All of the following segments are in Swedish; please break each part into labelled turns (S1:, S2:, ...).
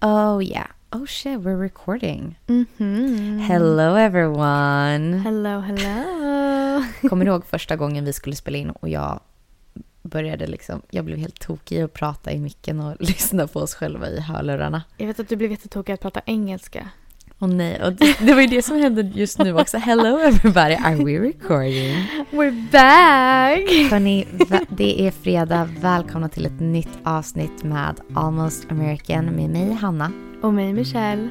S1: Oh, yeah. Oh, shit, we're recording.
S2: Mhm.
S1: Mm. Hello, everyone.
S2: Hello, hello.
S1: Kommer du ihåg första gången vi skulle spela in och jag började liksom... Jag blev helt tokig att prata i micken och lyssna på oss själva i hörlurarna.
S2: Jag vet att du blev jättetokig att prata engelska.
S1: Och nej, och det, det var ju det som hände just nu också. Hello, everybody. Are we recording?
S2: We're back!
S1: Hörni, Mm. va- det är fredag. Välkomna till ett nytt avsnitt med Almost American med mig, Hanna.
S2: Och mig Michelle.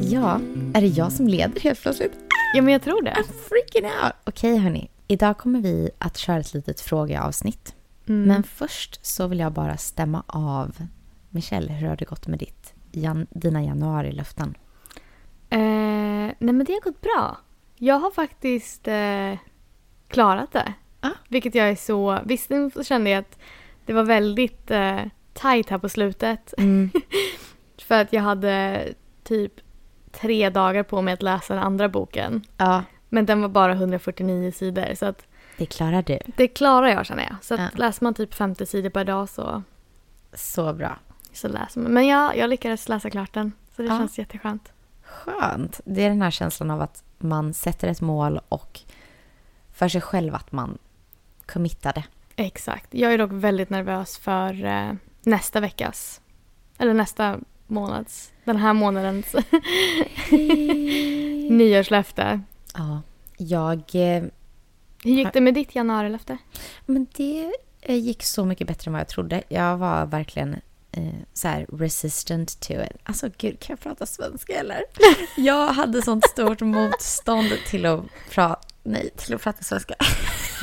S1: Ja, är det jag som leder helt plötsligt?
S2: Ja, men jag tror det.
S1: Freaking out! Okej hörni, idag kommer vi att köra ett litet frågeavsnitt.
S2: Mm.
S1: Men först så vill jag bara stämma av. Michelle, hur har det gått med ditt, jan, dina januarilöften?
S2: Eh, nej, men det har gått bra. Jag har faktiskt eh, klarat det.
S1: Ah.
S2: Vilket jag är så... Visst, nu kände jag att det var väldigt eh, tight här på slutet.
S1: Mm.
S2: För att jag hade typ tre dagar på mig att läsa den andra boken.
S1: Ja,
S2: Men den var bara 149 sidor. Så att
S1: det klarar du.
S2: det klarar jag känner jag. Så att
S1: Ja.
S2: läser man typ 50 sidor per dag så,
S1: Så bra.
S2: så läser man. Men ja, jag lyckades läsa klart den. Så det
S1: Ja.
S2: känns jätteskönt.
S1: Skönt. Det är den här känslan av att man sätter ett mål och för sig själv att man committade.
S2: Exakt. Jag är dock väldigt nervös för eh, nästa veckas. Eller nästa månads. Den här månadens nyårslöfte.
S1: Ja, jag... eh,
S2: Hur gick det med ditt januarilöfte?
S1: Men det eh, gick så mycket bättre än vad jag trodde. Jag var verkligen eh, så här resistant to it. Alltså gud, kan jag prata svenska eller? Jag hade sånt stort motstånd till att prata, nej, till att prata svenska.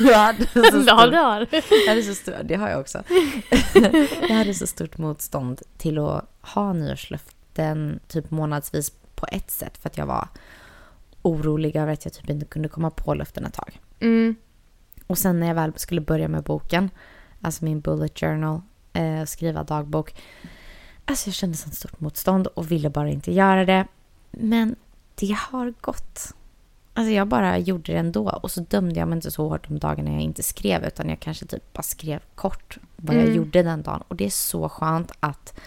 S1: Jag hade så
S2: Ja,
S1: stort,
S2: det har du.
S1: jag hade så stort, det har jag också. Jag hade så stort motstånd till att ha nyårslöften typ månadsvis på ett sätt för att jag var orolig över att jag typ inte kunde komma på löften ett tag.
S2: Mm.
S1: Och sen när jag väl skulle börja med boken, alltså min bullet journal, eh, skriva dagbok. Alltså jag kände sånt stort motstånd och ville bara inte göra det. Men det har gått. Alltså jag bara gjorde det ändå och så dömde jag mig inte så hårt om dagarna jag inte skrev utan jag kanske typ bara skrev kort vad jag
S2: Mm.
S1: gjorde den dagen. Och det är så skönt att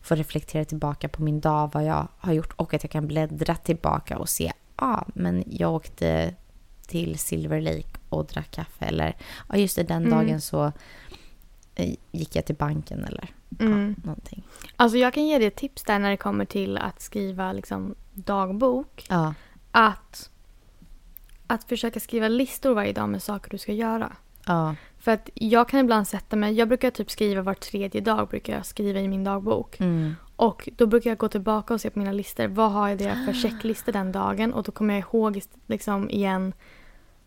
S1: få reflektera tillbaka på min dag, vad jag har gjort och att jag kan bläddra tillbaka och se, ja ah, men jag åkte till Silver Lake och drack kaffe eller ja just det, den
S2: Mm.
S1: dagen så eh, gick jag till banken eller
S2: Mm.
S1: ja, någonting.
S2: Alltså jag kan ge dig ett tips där när det kommer till att skriva liksom dagbok.
S1: Ja,
S2: Att, att försöka skriva listor varje dag med saker du ska göra.
S1: ja,
S2: För att jag kan ibland sätta mig, jag brukar typ skriva var tredje dag brukar jag skriva i min dagbok.
S1: mm,
S2: Och då brukar jag gå tillbaka och se på mina listor. Vad har jag det
S1: Ah.
S2: för checklistor den dagen? Och då kommer jag ihåg ist- liksom igen.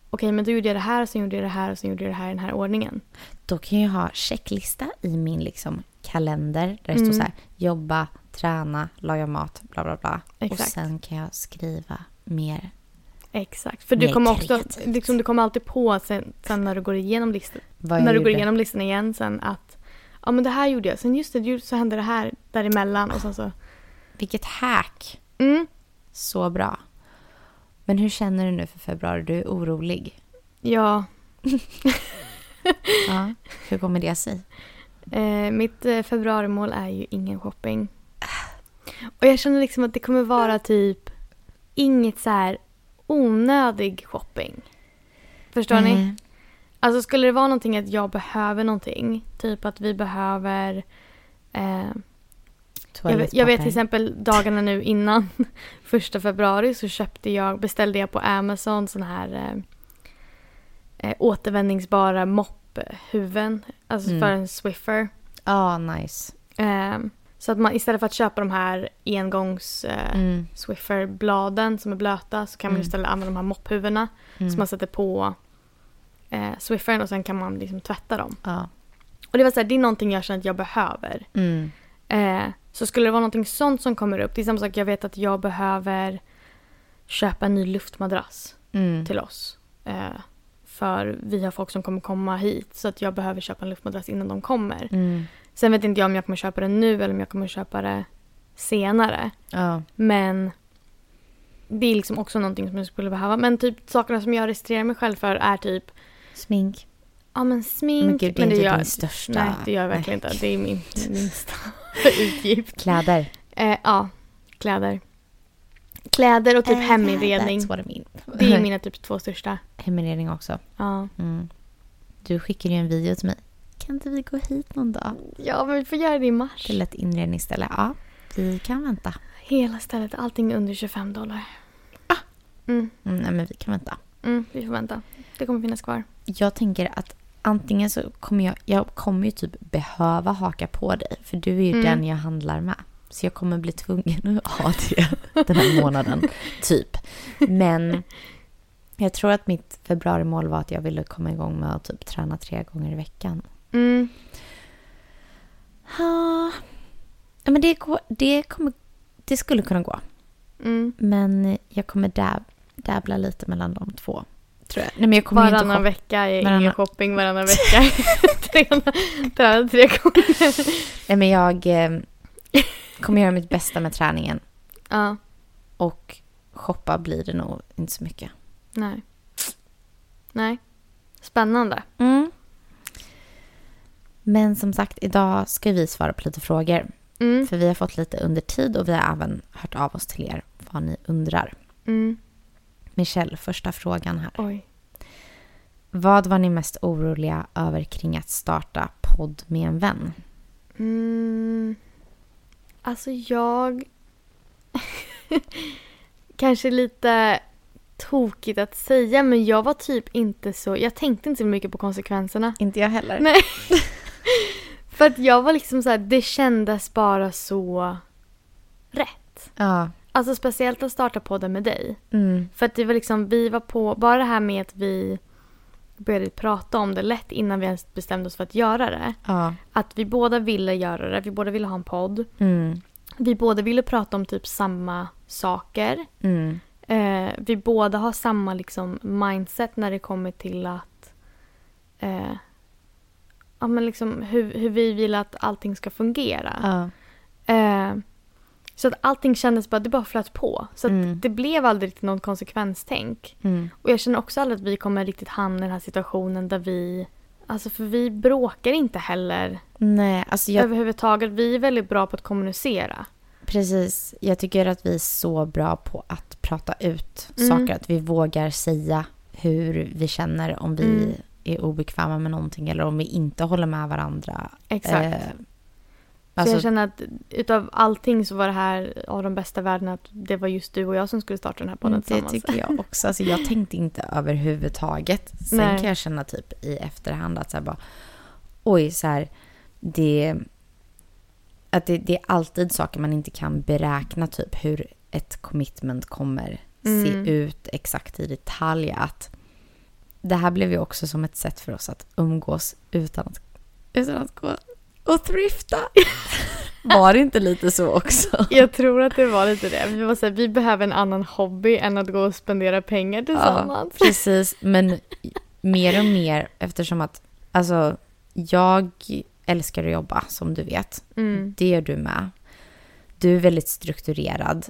S2: Okej, men då gjorde jag det här, sen gjorde jag det här och sen gjorde jag det här i den här ordningen.
S1: då kan jag ha checklista i min liksom kalender där det står
S2: Mm.
S1: så här jobba, träna, laga mat, bla bla bla. Och
S2: Exakt.
S1: sen kan jag skriva mer.
S2: Exakt. För du
S1: Mer
S2: kommer också,
S1: kreativt.
S2: liksom, du kommer alltid på sen, sen när du går igenom listan.
S1: Vad
S2: när
S1: jag
S2: du går
S1: gjorde.
S2: igenom listan igen sen att ja men det här gjorde jag, sen just det, ju- så hände det här däremellan och sen så.
S1: Vilket hack!
S2: Mm,
S1: Så bra. Men hur känner du nu för februari? Du är orolig.
S2: ja,
S1: Ja. Hur kommer det sig?
S2: eh, mitt eh, februarimål är ju ingen shopping. Och jag känner liksom att det kommer vara typ inget så här onödig shopping. Förstår ni?
S1: Nej.
S2: Alltså skulle det vara någonting att jag behöver någonting, typ att vi behöver eh, Jag vet, jag vet till exempel dagarna nu innan första februari så köpte jag, beställde jag på Amazon sån här eh, eh, återvändningsbara mopphuvuden. Alltså
S1: Mm.
S2: för en Swiffer.
S1: Ja, nice.
S2: Eh, så att man istället för att köpa de här engångs eh,
S1: Mm.
S2: Swiffer-bladen som är blöta så kan man
S1: Mm.
S2: istället använda de här mopphuvudena
S1: Mm.
S2: som man sätter på eh, Swiffern och sen kan man liksom tvätta dem.
S1: Ja.
S2: Och det var så här, det är någonting jag känner att jag behöver.
S1: Mm.
S2: Eh, så skulle det vara någonting sånt som kommer upp. Det är samma sak, jag vet att jag behöver köpa en ny luftmadrass
S1: Mm.
S2: till oss. Eh, för vi har folk som kommer komma hit så att jag behöver köpa en luftmadrass innan de kommer.
S1: Mm.
S2: Sen vet inte jag om jag kommer köpa det nu eller om jag kommer köpa det senare.
S1: Ja.
S2: Men det är liksom också någonting som jag skulle behöva. Men typ sakerna som jag registrerar mig själv för är typ
S1: Smink.
S2: ja, men smink.
S1: men gud, det är inte
S2: gör,
S1: din största.
S2: nej, det gör jag verkligen
S1: nej.
S2: inte. Det är min minsta utgift.
S1: Kläder.
S2: Eh, ja, kläder. Kläder och typ
S1: Eh,
S2: heminredning.
S1: That's what I mean.
S2: Det är mina typ två största.
S1: Heminredning också.
S2: Ja.
S1: Mm. Du skickade ju en video till mig. Kan inte vi gå hit någon dag?
S2: ja, men vi får göra det i mars.
S1: Till ett inredningsställe. Ja, vi kan vänta.
S2: Hela stället, allting under 25 dollar. Mm,
S1: Mm, nej, men vi kan vänta.
S2: mm, vi får vänta. Det kommer finnas kvar.
S1: Jag tänker att antingen så kommer jag, jag kommer ju typ behöva haka på dig. För du är ju
S2: Mm.
S1: den jag handlar med. Så jag kommer bli tvungen att ha det den här månaden. typ. Men jag tror att mitt februarimål var att jag ville komma igång med att typ träna tre gånger i veckan.
S2: Mm,
S1: Ja, men det, går, det, kommer, det skulle kunna gå.
S2: mm.
S1: Men jag kommer dab, dabbla lite mellan de två. Tror jag. Nej, men jag kommer ju inte
S2: Varannan
S1: shoppa.
S2: vecka är
S1: Varannan-
S2: ingen shopping, varannan vecka träna, träna tre gånger.
S1: Nej, men jag eh, kommer göra mitt bästa med träningen.
S2: Ja,
S1: Och shoppa blir det nog inte så mycket.
S2: nej. Nej. Spännande.
S1: Mm. Men som sagt, idag ska vi svara på lite frågor.
S2: Mm,
S1: För vi har fått lite under tid och vi har även hört av oss till er vad ni undrar.
S2: mm.
S1: Michelle, första frågan här.
S2: Oj.
S1: Vad var ni mest oroliga över kring att starta podd med en vän?
S2: Mm. Alltså jag... Kanske lite tokigt att säga men jag var typ inte så... Jag tänkte inte så mycket på konsekvenserna.
S1: Inte jag heller.
S2: Nej. För att jag var liksom så här, det kändes bara så rätt.
S1: Ja.
S2: Alltså speciellt att starta podden med dig.
S1: Mm.
S2: För att det var liksom, vi var på, bara det här med att vi började prata om det lätt innan vi ens bestämde oss för att göra det.
S1: Ja.
S2: Att vi båda ville göra det, vi båda ville ha en podd.
S1: Mm.
S2: Vi båda ville prata om typ samma saker.
S1: Mm.
S2: Eh, vi båda har samma liksom mindset när det kommer till att... Eh, ja, men liksom hur, hur vi vill att allting ska fungera.
S1: Ja.
S2: Eh, så att allting kändes bara, det bara flöt på. Så att
S1: Mm.
S2: det blev aldrig riktigt någon konsekvenstänk.
S1: Mm.
S2: Och jag känner också aldrig att vi kommer riktigt hamna i den här situationen där vi... Alltså för vi bråkar inte heller
S1: Nej, alltså jag,
S2: överhuvudtaget. Vi är väldigt bra på att kommunicera.
S1: precis. Jag tycker att vi är så bra på att prata ut
S2: Mm.
S1: saker. Att vi vågar säga hur vi känner om vi
S2: Mm.
S1: är obekväma med någonting eller om vi inte håller med varandra.
S2: Exakt.
S1: Eh,
S2: så
S1: alltså,
S2: jag känner att utav allting så var det här av de bästa värdena att det var just du och jag som skulle starta den här podden
S1: det
S2: tillsammans.
S1: tycker jag också. Alltså, jag tänkte inte överhuvudtaget. Sen
S2: Nej.
S1: kan jag känna typ i efterhand att så här bara, oj, så här, det, att det, det är alltid saker man inte kan beräkna, typ hur ett commitment kommer
S2: Mm.
S1: se ut exakt i detalj. Att det här blev ju också som ett sätt för oss att umgås utan att, utan att gå och thrifta. Var det inte lite så också?
S2: Jag tror att det var lite det. Vi var så här, vi behöver en annan hobby än att gå och spendera pengar tillsammans.
S1: Precis, men mer och mer eftersom att alltså, jag älskar att jobba som du vet.
S2: Mm.
S1: Det gör du med. Du är väldigt strukturerad.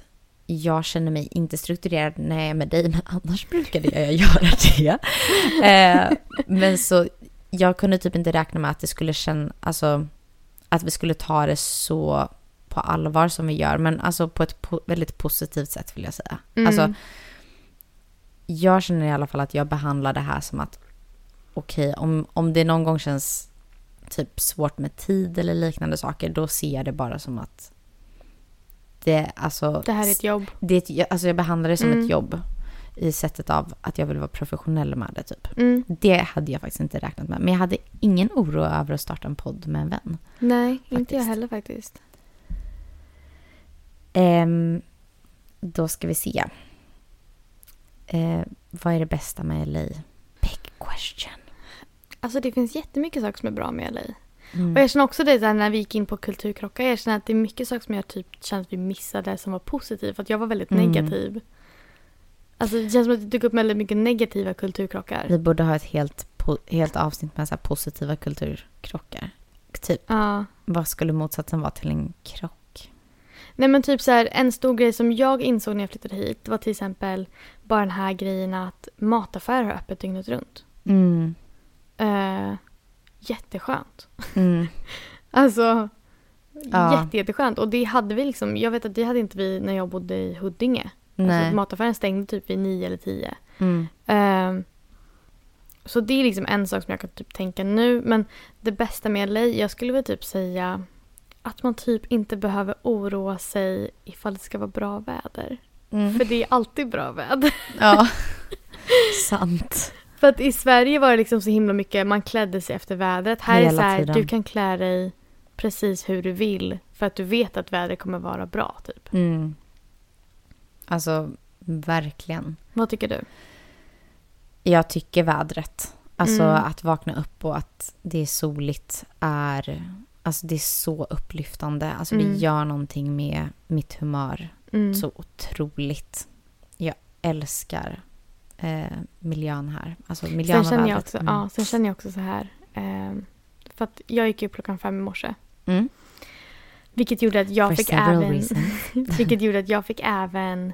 S1: Jag känner mig inte strukturerad när jag är med dig, men annars brukade jag göra det. Eh, men så jag kunde typ inte räkna med att det skulle känna, alltså att vi skulle ta det så på allvar som vi gör, men alltså på ett po- väldigt positivt sätt vill jag säga.
S2: Mm.
S1: Alltså, jag känner i alla fall att jag behandlar det här som att okej, om, om det någon gång känns typ svårt med tid eller liknande saker, då ser jag det bara som att det, alltså,
S2: det här är ett jobb.
S1: det är ett, jag- alltså jag behandlar det som
S2: Mm.
S1: ett jobb i sättet av att jag vill vara professionell med det typ.
S2: Mm.
S1: Det hade jag faktiskt inte räknat med, men jag hade ingen oro över att starta en podd med en vän.
S2: Nej,
S1: Faktiskt.
S2: inte jag heller faktiskt.
S1: Ehm, då ska vi se. Eh, vad är det bästa med LA? Big question.
S2: Alltså det finns jättemycket saker som är bra med LA.
S1: Mm.
S2: Och jag känner också det där när vi gick in på kulturkrockar. Jag känner att det är mycket saker som jag typ känner att vi missade som var positivt. För att jag var väldigt
S1: Mm.
S2: negativ. Alltså det känns som att det dök upp väldigt mycket negativa kulturkrockar.
S1: Vi borde ha ett helt, po- helt avsnitt med så här positiva kulturkrockar. krock typ.
S2: Ja.
S1: Vad skulle motsatsen vara till en krock?
S2: Nej men typ så här, en stor grej som jag insåg när jag flyttade hit det var till exempel bara den här grejen att mataffärer har öppet dygnet runt.
S1: Mm.
S2: Eh, jätteskönt.
S1: Mm.
S2: Alltså,
S1: Ja.
S2: jätte, jätteskönt. Och det hade vi liksom, jag vet att det hade inte vi när jag bodde i Huddinge.
S1: Nej.
S2: Alltså, mataffären stängde typ vid nio eller tio.
S1: mm.
S2: Ehm, så det är liksom en sak som jag kan typ tänka nu. Men det bästa med LA, jag skulle väl typ säga att man typ inte behöver oroa sig ifall det ska vara bra väder.
S1: Mm.
S2: För det är alltid bra väder.
S1: Ja. Sant.
S2: För att i Sverige var det liksom så himla mycket, man klädde sig efter vädret. Här är
S1: Hela
S2: så här,
S1: tiden.
S2: du kan klä dig precis hur du vill. För att du vet att vädret kommer vara bra typ.
S1: Mm. Alltså, verkligen.
S2: Vad tycker du?
S1: Jag tycker vädret. Alltså
S2: Mm.
S1: att vakna upp och att det är soligt är... Alltså det är så upplyftande. Alltså
S2: Mm.
S1: det gör någonting med mitt humör.
S2: Mm.
S1: Så otroligt. Jag älskar eh, miljön här. Alltså miljön
S2: Sen
S1: och
S2: känner, jag
S1: vädret.
S2: också,
S1: Mm.
S2: ja, sen känner jag också så här. ehm, för att jag gick upp klockan fem i morse.
S1: Mm.
S2: Vilket gjorde att jag,
S1: For
S2: fick
S1: several
S2: även,
S1: reasons.
S2: vilket gjorde att jag fick även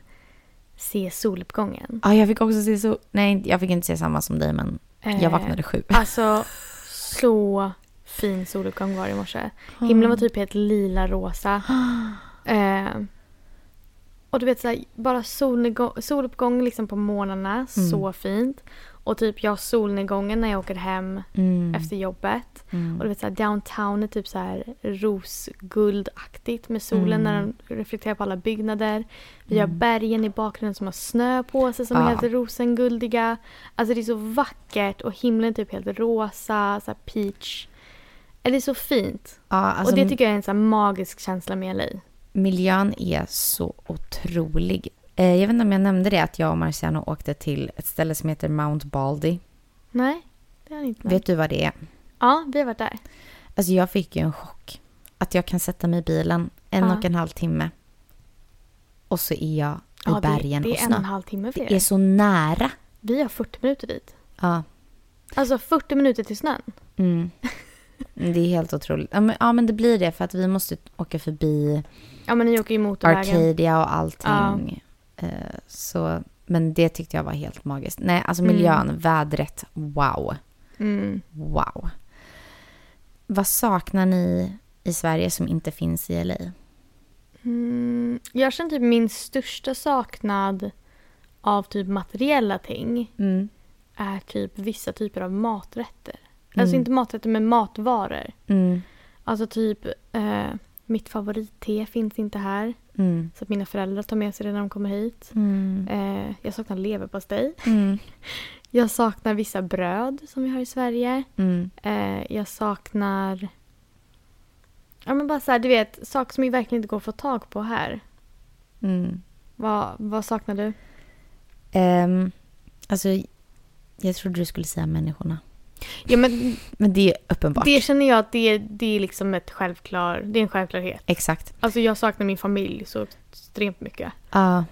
S2: se soluppgången.
S1: Ja, Ah, jag fick också se så... Nej, jag fick inte se samma som dig, men jag
S2: Eh,
S1: vaknade sju.
S2: Alltså, så fin soluppgång var det i morse.
S1: Ah.
S2: Himlen var typ helt lila-rosa. Eh, och du vet, så här, bara solnedgång, soluppgång liksom på morgnarna,
S1: Mm.
S2: så fint. Och typ jag har solnedgången när jag åker hem
S1: Mm.
S2: efter jobbet.
S1: Mm.
S2: Och du vet så här, downtown är typ så här rosguldaktigt med solen
S1: Mm.
S2: när den reflekterar på alla byggnader. Vi har
S1: Mm. Ah.
S2: bergen i bakgrunden som har snö på sig som
S1: Ja.
S2: är helt rosenguldiga. Alltså det är så vackert och himlen är typ helt rosa, så här peach. Eh, Det är så fint.
S1: Ja, alltså,
S2: och det tycker jag är en så här magisk känsla med LA.
S1: Miljön är så otrolig. Eh, jag vet inte om jag nämnde det att jag och Marciano åkte till ett ställe som heter Mount Baldy.
S2: Mm. Nej, det är det inte.
S1: Vet du vad det är?
S2: Ja, vi har varit där.
S1: Alltså jag fick ju en chock. Att jag kan sätta mig i bilen en
S2: Ja.
S1: och en halv timme. Och så är jag i
S2: Ja, det,
S1: bergen
S2: det
S1: och
S2: är en och en
S1: snö.
S2: halv timme för
S1: Det är
S2: er.
S1: så nära.
S2: Vi har 40 minuter dit.
S1: Ja.
S2: Alltså 40 minuter till snön.
S1: Mm. Det är helt otroligt. Ja men, ja men det blir det för att vi måste åka förbi
S2: Ja men ni åker ju motorvägen.
S1: Arcadia och allting. Eh, så, men det tyckte jag var helt magiskt. Nej, alltså
S2: Mm.
S1: miljön, vädret, wow.
S2: Mm.
S1: Wow. Vad saknar ni i Sverige som inte finns i LA?
S2: Mm, jag känner typ min största saknad av typ materiella ting
S1: Mm.
S2: är typ vissa typer av maträtter.
S1: Mm.
S2: Alltså inte maträtter men matvaror.
S1: Mm.
S2: Alltså typ eh, mitt favoritte finns inte här.
S1: Mm.
S2: Så att mina föräldrar tar med sig det när de kommer hit.
S1: Mm.
S2: Eh, jag saknar leverpastej.
S1: Mm.
S2: Jag saknar vissa bröd som vi har i Sverige.
S1: Mm.
S2: Eh, jag saknar... Ja men bara så här, du vet, saker som ju verkligen inte går att få tag på här.
S1: Mm.
S2: Vad, vad saknar du?
S1: Ehm, alltså, jag trodde du skulle säga människorna.
S2: Ja men
S1: Men det är uppenbart.
S2: Det känner jag att det är, det är liksom ett självklar, det är en självklarhet.
S1: Exakt.
S2: Alltså jag saknar min familj så extremt mycket.
S1: Ja,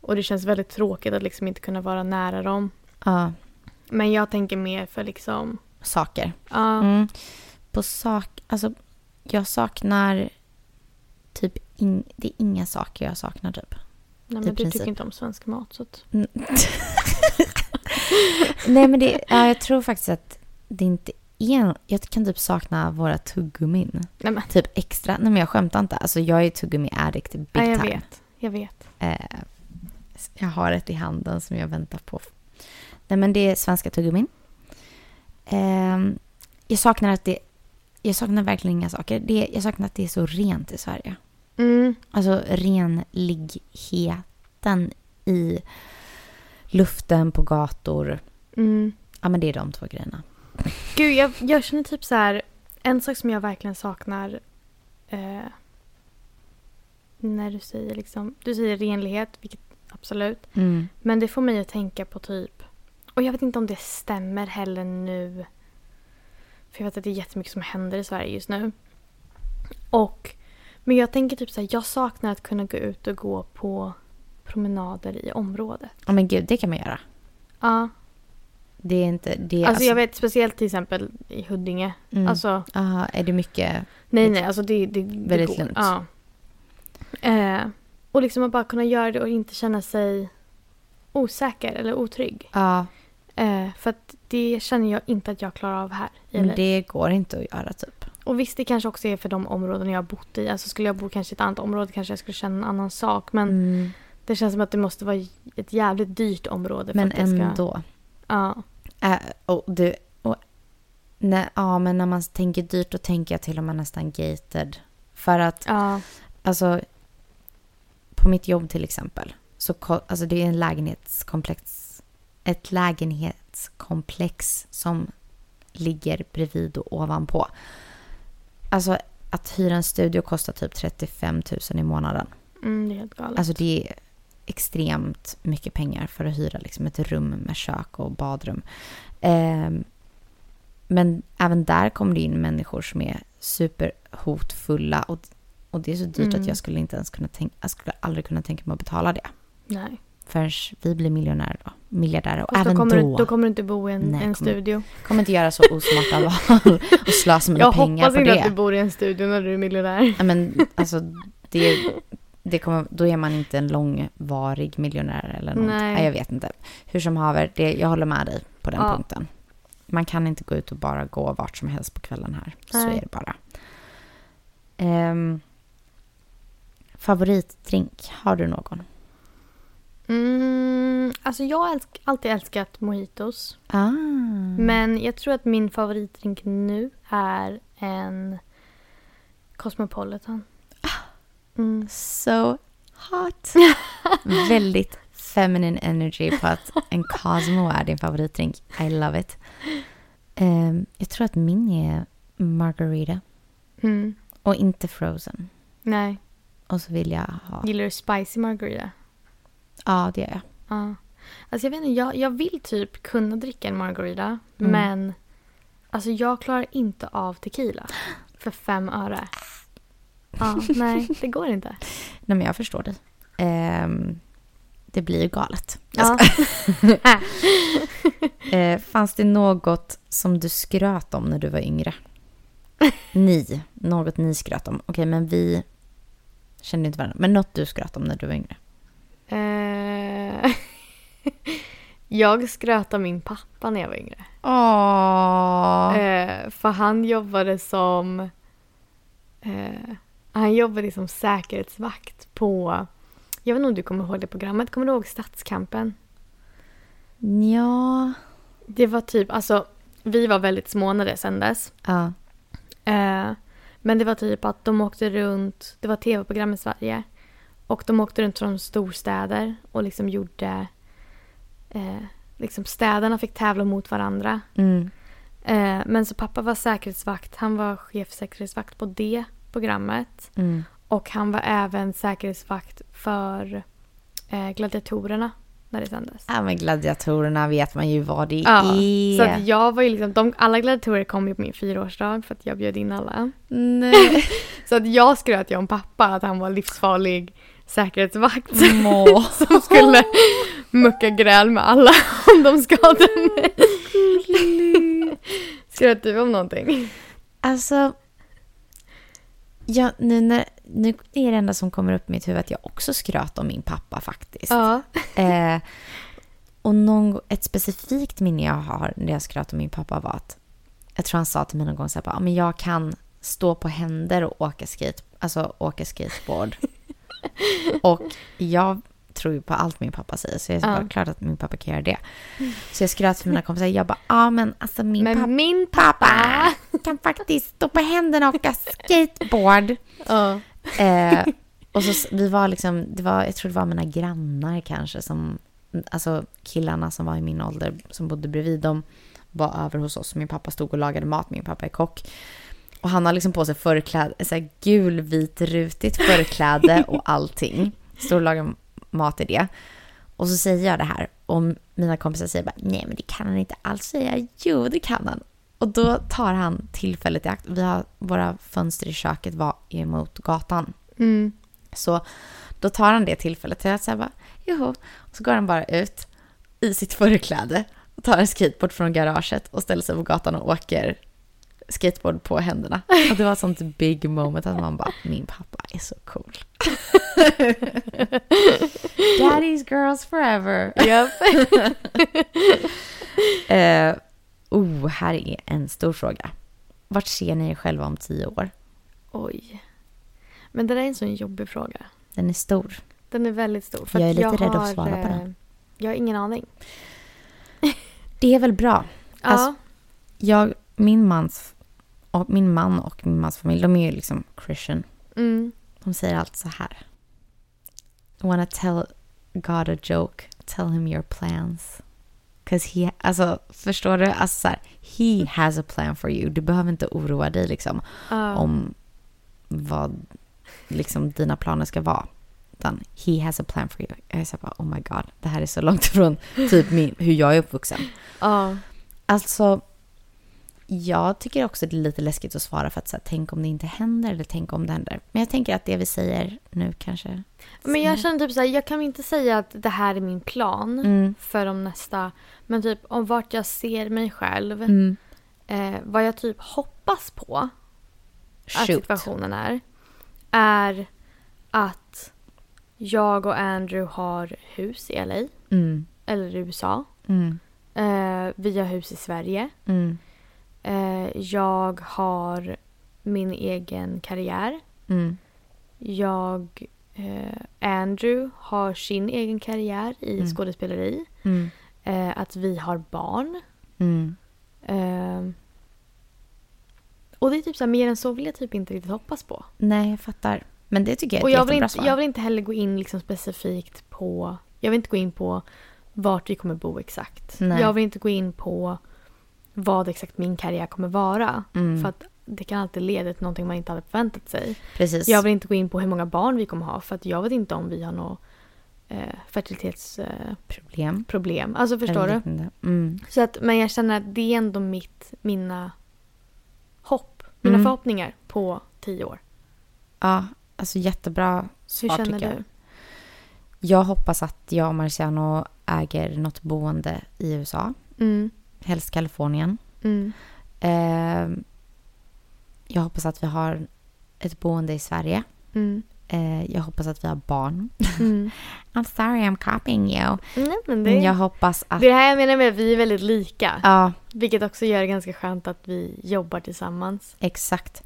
S2: Och det känns väldigt tråkigt att liksom inte kunna vara nära dem.
S1: ja.
S2: Men jag tänker mer för liksom,
S1: saker.
S2: ja,
S1: Mm. På sak... Alltså, jag saknar typ... In, det är inga saker jag saknar typ.
S2: nej,
S1: i
S2: men du
S1: princip.
S2: tycker inte om svensk mat så att,
S1: Mm. Nej men det, ja, jag tror faktiskt att det inte är nå- Jag kan typ sakna våra tuggummin.
S2: nej men,
S1: Typ extra. Nej men jag skämtar inte. Alltså jag är tuggummi-addict big
S2: nej, jag
S1: time.
S2: vet, jag vet.
S1: Eh, jag har ett i handen som jag väntar på. Nej men det är svenska tuggummin. Eh, jag saknar att det... Jag saknar verkligen inga saker. Det, jag saknar att det är så rent i Sverige.
S2: Mm,
S1: Alltså renligheten i luften, på gator.
S2: mm.
S1: Ja, men det är de två grejerna.
S2: Gud jag, jag känner typ så här, en sak som jag verkligen saknar eh, när du säger liksom, du säger renlighet, vilket absolut.
S1: Mm.
S2: Men det får mig att tänka på typ... Och jag vet inte om det stämmer heller nu. För jag vet att det är jättemycket som händer i Sverige just nu. Och... Men jag tänker typ så här, jag saknar att kunna gå ut och gå på promenader i området.
S1: Ja, men gud, det kan man göra.
S2: Ja.
S1: Det är inte... Det är
S2: Alltså, jag vet speciellt till exempel i Huddinge.
S1: Mm.
S2: Alltså,
S1: Aha, är det mycket...
S2: nej
S1: Lite-
S2: nej, alltså det, det, det
S1: Väldigt
S2: går.
S1: lugnt.
S2: Ja. Eh, och liksom att bara kunna göra det och inte känna sig osäker eller otrygg.
S1: Ja,
S2: Eh, för att det känner jag inte att jag klarar av här. i LA.
S1: men Mm, det går inte att göra typ.
S2: Och visst, det kanske också är för de områden jag har bott i. Alltså skulle jag bo kanske i ett annat område kanske jag skulle känna en annan sak. Men
S1: Mm.
S2: det känns som att det måste vara ett jävligt dyrt område.
S1: Men
S2: för att det ska-
S1: ändå.
S2: Ja.
S1: Äh, och du, och, nej, ja, men när man tänker dyrt då tänker jag till och med nästan gated. För att
S2: ja.
S1: Alltså, på mitt jobb till exempel. Så, ko- alltså det är en lägenhetskomplex, ett lägenhetskomplex som ligger bredvid och ovanpå. Alltså att hyra en studio kostar typ 35 000 i månaden.
S2: Mm, det är helt galet.
S1: Alltså det är extremt mycket pengar för att hyra liksom ett rum med kök och badrum. Ehm, men även där kommer det in människor som är superhotfulla och, och det är så dyrt
S2: Mm.
S1: att jag skulle inte ens kunna tänka, jag skulle aldrig kunna tänka mig att betala det
S2: Nej.
S1: förrän vi blir miljonärer då, miljardärer och
S2: Fast
S1: även
S2: då,
S1: då,
S2: kommer Du, då kommer du inte bo i en,
S1: Nej,
S2: en
S1: kommer-
S2: studio.
S1: kommer inte göra så osmarta val och slösa mina
S2: Jag
S1: pengar
S2: hoppas
S1: på
S2: inte
S1: det.
S2: att du bor i en studio när du är miljonär.
S1: Ja, men alltså det, det kommer, då är man inte en långvarig miljonär eller något.
S2: Nej.
S1: Nej. jag vet inte. Hur som haver, det, jag håller med dig på den
S2: Ja.
S1: punkten. Man kan inte gå ut och bara gå vart som helst på kvällen här. Så
S2: Nej.
S1: är det bara. Ehm, favoritdrink, har du någon?
S2: Mm, alltså jag har älsk, alltid älskat mojitos.
S1: Ah.
S2: Men jag tror att min favoritdrink nu är en Cosmopolitan. Mm.
S1: So hot. Väldigt feminine energy på att en Cosmo är din favoritdrink. I love it. Ehm, jag tror att min är Margarita
S2: Mm.
S1: och inte Frozen.
S2: Nej,
S1: Och så vill jag ha...
S2: gillar du spicy margarita?
S1: Ja, det gör jag.
S2: Ja. Alltså jag vet inte, jag, jag vill typ kunna dricka en margarita.
S1: Mm.
S2: Men alltså jag klarar inte av tequila. För fem öre. Ja, nej, det går inte.
S1: Nej, men jag förstår dig. Ehm, det blir ju galet.
S2: Ja.
S1: Eh, fanns det något som du skröt om när du var yngre? Ni. Något ni skröt om. Okej, men vi kände inte varandra. Men något du skröt om när du var yngre?
S2: Eh, jag skröt om min pappa när jag var yngre.
S1: Åh!
S2: Eh, för han jobbade som... Eh, han jobbade som säkerhetsvakt på... Jag vet inte om du kommer ihåg det programmet. Kommer du ihåg Stadskampen?
S1: Ja.
S2: Det var typ, alltså vi var väldigt små när det sändes.
S1: Ja.
S2: Eh, men det var typ att de åkte runt, det var tv-program i Sverige. Och de åkte runt från storstäder och liksom gjorde, eh, liksom städerna fick tävla mot varandra.
S1: Mm.
S2: Eh, men så pappa var säkerhetsvakt, han var chefsäkerhetsvakt på det programmet.
S1: Mm.
S2: Och han var även säkerhetsvakt för eh, gladiatorerna när det sändes.
S1: Ja, men gladiatorerna vet man ju vad det
S2: Ja,
S1: är.
S2: Så att jag var ju liksom, de, alla gladiatorer kom ju på min fyraårsdag för att jag bjöd in alla.
S1: Nej.
S2: Så att jag skröt ju om pappa att han var livsfarlig säkerhetsvakt
S1: Mm. Må.
S2: som skulle mucka gräl med alla om de skadade mig. Skröt du om någonting?
S1: Alltså, ja, nu, när, nu är det enda som kommer upp i mitt huvud att jag också skröt om min pappa faktiskt.
S2: Ja.
S1: Eh, och någon, gång- ett specifikt minne jag har när jag skröt om min pappa var att jag tror han sa till mig någon gång så här, bara, "Ja, men jag kan stå på händer och åka, skate, alltså, åka skateboard. och jag tror ju på allt min pappa säger så jag är
S2: Ja. Mm.
S1: bara klart att min pappa kan göra det. Så jag skröt för mina kompisar, jag bara ja men alltså min pappa
S2: Men min pappa!
S1: pappa kan faktiskt stå på händerna och åka skateboard.
S2: Ja.
S1: Eh, och så, s- vi var liksom, det var, jag tror det var mina grannar kanske som, alltså killarna som var i min ålder som bodde bredvid dem var över hos oss. Min pappa stod och lagade mat, min pappa är kock. Och han har liksom på sig förkläde, så här gulvit rutigt förkläde och allting. Står och lagar mat i det. Och så säger jag det här och mina kompisar säger bara nej men det kan han inte alls säga. Jo det kan han. Och då tar han tillfället i akt. Vi har, våra fönster i köket var emot gatan.
S2: Mm.
S1: Så då tar han det tillfället till att säga bara, joho. Och så går han bara ut i sitt förkläde tar en skateboard från garaget och ställer sig på gatan och åker skateboard på händerna. Och det var ett sånt big moment att man bara, min pappa är så cool. Daddy's girls forever.
S2: Japp.
S1: Eh, oh, här är en stor fråga. Vart ser ni er själva om tio år?
S2: Oj. Men det där är en sån jobbig fråga.
S1: Den är stor.
S2: Den är väldigt stor. för
S1: Jag är
S2: att
S1: lite rädd att
S2: har,
S1: svara på den.
S2: eh, Jag har ingen aning.
S1: Det är väl bra.
S2: Ja,
S1: Alltså- Jag, min, mans, och min man och min mans familj, de är ju liksom Christian.
S2: mm.
S1: De säger alltid så här. Wanna tell God a joke, tell him your plans. Cause he, alltså förstår du? Alltså så här, he has a plan for you. Du behöver inte oroa dig liksom
S2: ja.
S1: om vad liksom dina planer ska vara. Utan he has a plan for you. Jag är så här bara, oh my god, det här är så långt ifrån typ min, hur jag är uppvuxen.
S2: Ja.
S1: Alltså, jag tycker också det är lite läskigt att svara för att så här, tänk om det inte händer eller tänk om det händer. Men jag tänker att det vi säger nu kanske...
S2: Men jag känner typ så här, jag kan inte säga att det här är min plan
S1: Mm.
S2: för de nästa, men typ om vart jag ser mig själv,
S1: Mm.
S2: eh, vad jag typ hoppas på att
S1: Shoot.
S2: situationen är, är att jag och Andrew har hus i LA,
S1: Mm.
S2: eller i USA.
S1: Mm.
S2: Eh, vi har hus i Sverige.
S1: Mm.
S2: Eh, jag har min egen karriär.
S1: Mm.
S2: Jag, eh, Andrew har sin egen karriär i
S1: Mm.
S2: skådespeleri.
S1: Mm.
S2: Eh, att vi har barn.
S1: Mm.
S2: Eh, och det är typ så här, mer än så vill jag typ inte riktigt hoppas på.
S1: Nej, jag fattar. Men det tycker jag är
S2: Och
S1: ett
S2: jag vill,
S1: jättebra
S2: inte,
S1: svar.
S2: jag vill inte heller gå in liksom specifikt på... Jag vill inte gå in på vart vi kommer bo exakt.
S1: Nej.
S2: Jag vill inte gå in på vad exakt min karriär kommer vara.
S1: Mm.
S2: För att det kan alltid leda till någonting man inte hade förväntat sig.
S1: Precis.
S2: Jag vill inte gå in på hur många barn vi kommer ha för att jag vet inte om vi har något eh, fertilitetsproblem. Eh,
S1: Problem.
S2: problem. alltså förstår
S1: Eller
S2: du?
S1: liknande. Mm.
S2: Så att, men jag känner att det är ändå mitt, mina hopp, mina
S1: Mm.
S2: förhoppningar på tio år.
S1: Ja, alltså jättebra
S2: Hur
S1: svar
S2: känner
S1: tycker jag.
S2: du?
S1: Jag hoppas att jag och Marciano äger något boende i USA.
S2: Mm,
S1: Helst Kalifornien.
S2: mm,
S1: Eh, jag hoppas att vi har ett boende i Sverige.
S2: mm,
S1: Eh, jag hoppas att vi har barn.
S2: mm.
S1: I'm sorry I'm copying you.
S2: Nej, men det,
S1: Men jag hoppas att...
S2: det är det här jag menar med att vi är väldigt lika.
S1: Ja,
S2: Vilket också gör det ganska skönt att vi jobbar tillsammans.
S1: exakt.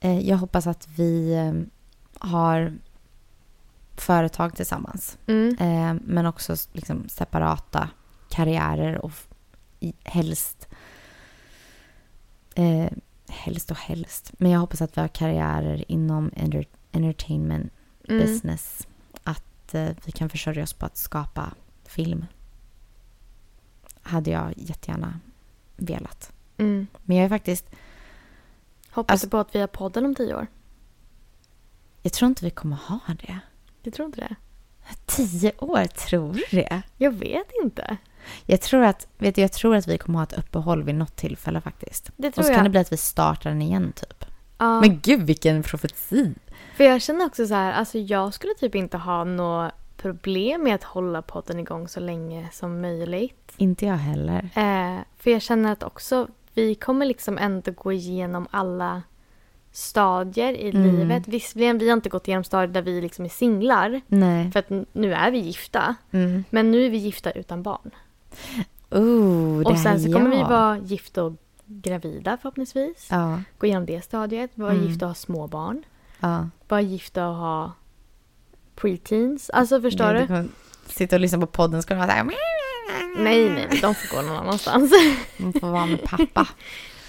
S1: Eh, jag hoppas att vi eh, har företag tillsammans.
S2: Mm,
S1: Eh, men också s- liksom separata karriärer och f- i- helst... Eh, helst och helst. Men jag hoppas att vi har karriärer inom enter- entertainment
S2: mm.
S1: business. Att eh, vi kan försörja oss på att skapa film. Hade jag jättegärna velat.
S2: Mm.
S1: Men jag är faktiskt...
S2: Hoppas
S1: Alltså-
S2: du på att vi har podden om tio år?
S1: Jag tror inte vi kommer ha det.
S2: Jag tror inte det.
S1: Tio år, tror du det?
S2: Jag vet inte.
S1: Jag tror att, vet du, jag tror att vi kommer ha ett uppehåll vid något tillfälle faktiskt.
S2: Det tror
S1: Och så
S2: jag.
S1: kan det bli att vi startar den igen typ.
S2: Ja,
S1: Men gud vilken profeti!
S2: För jag känner också så här, alltså jag skulle typ inte ha något problem med att hålla podden igång så länge som möjligt.
S1: Inte jag heller.
S2: Eh, för jag känner att också, vi kommer liksom ändå gå igenom alla stadier i
S1: Mm.
S2: livet. Visserligen, vi har inte gått igenom stadier där vi liksom är singlar.
S1: Nej.
S2: För att n- nu är vi gifta.
S1: Mm.
S2: Men nu är vi gifta utan barn.
S1: Oh, det
S2: Och sen
S1: här
S2: så
S1: är
S2: kommer vi
S1: jag.
S2: vara gifta och gravida förhoppningsvis.
S1: Ja,
S2: Gå igenom det stadiet. Vara
S1: Mm.
S2: gifta och ha små barn.
S1: ja.
S2: Vara gifta och ha preteens. Alltså förstår
S1: Nej,
S2: du?
S1: kommer Sitta och lyssna på podden ska de vara så här...
S2: Nej, nej, de får gå någon annanstans.
S1: Man får vara med pappa.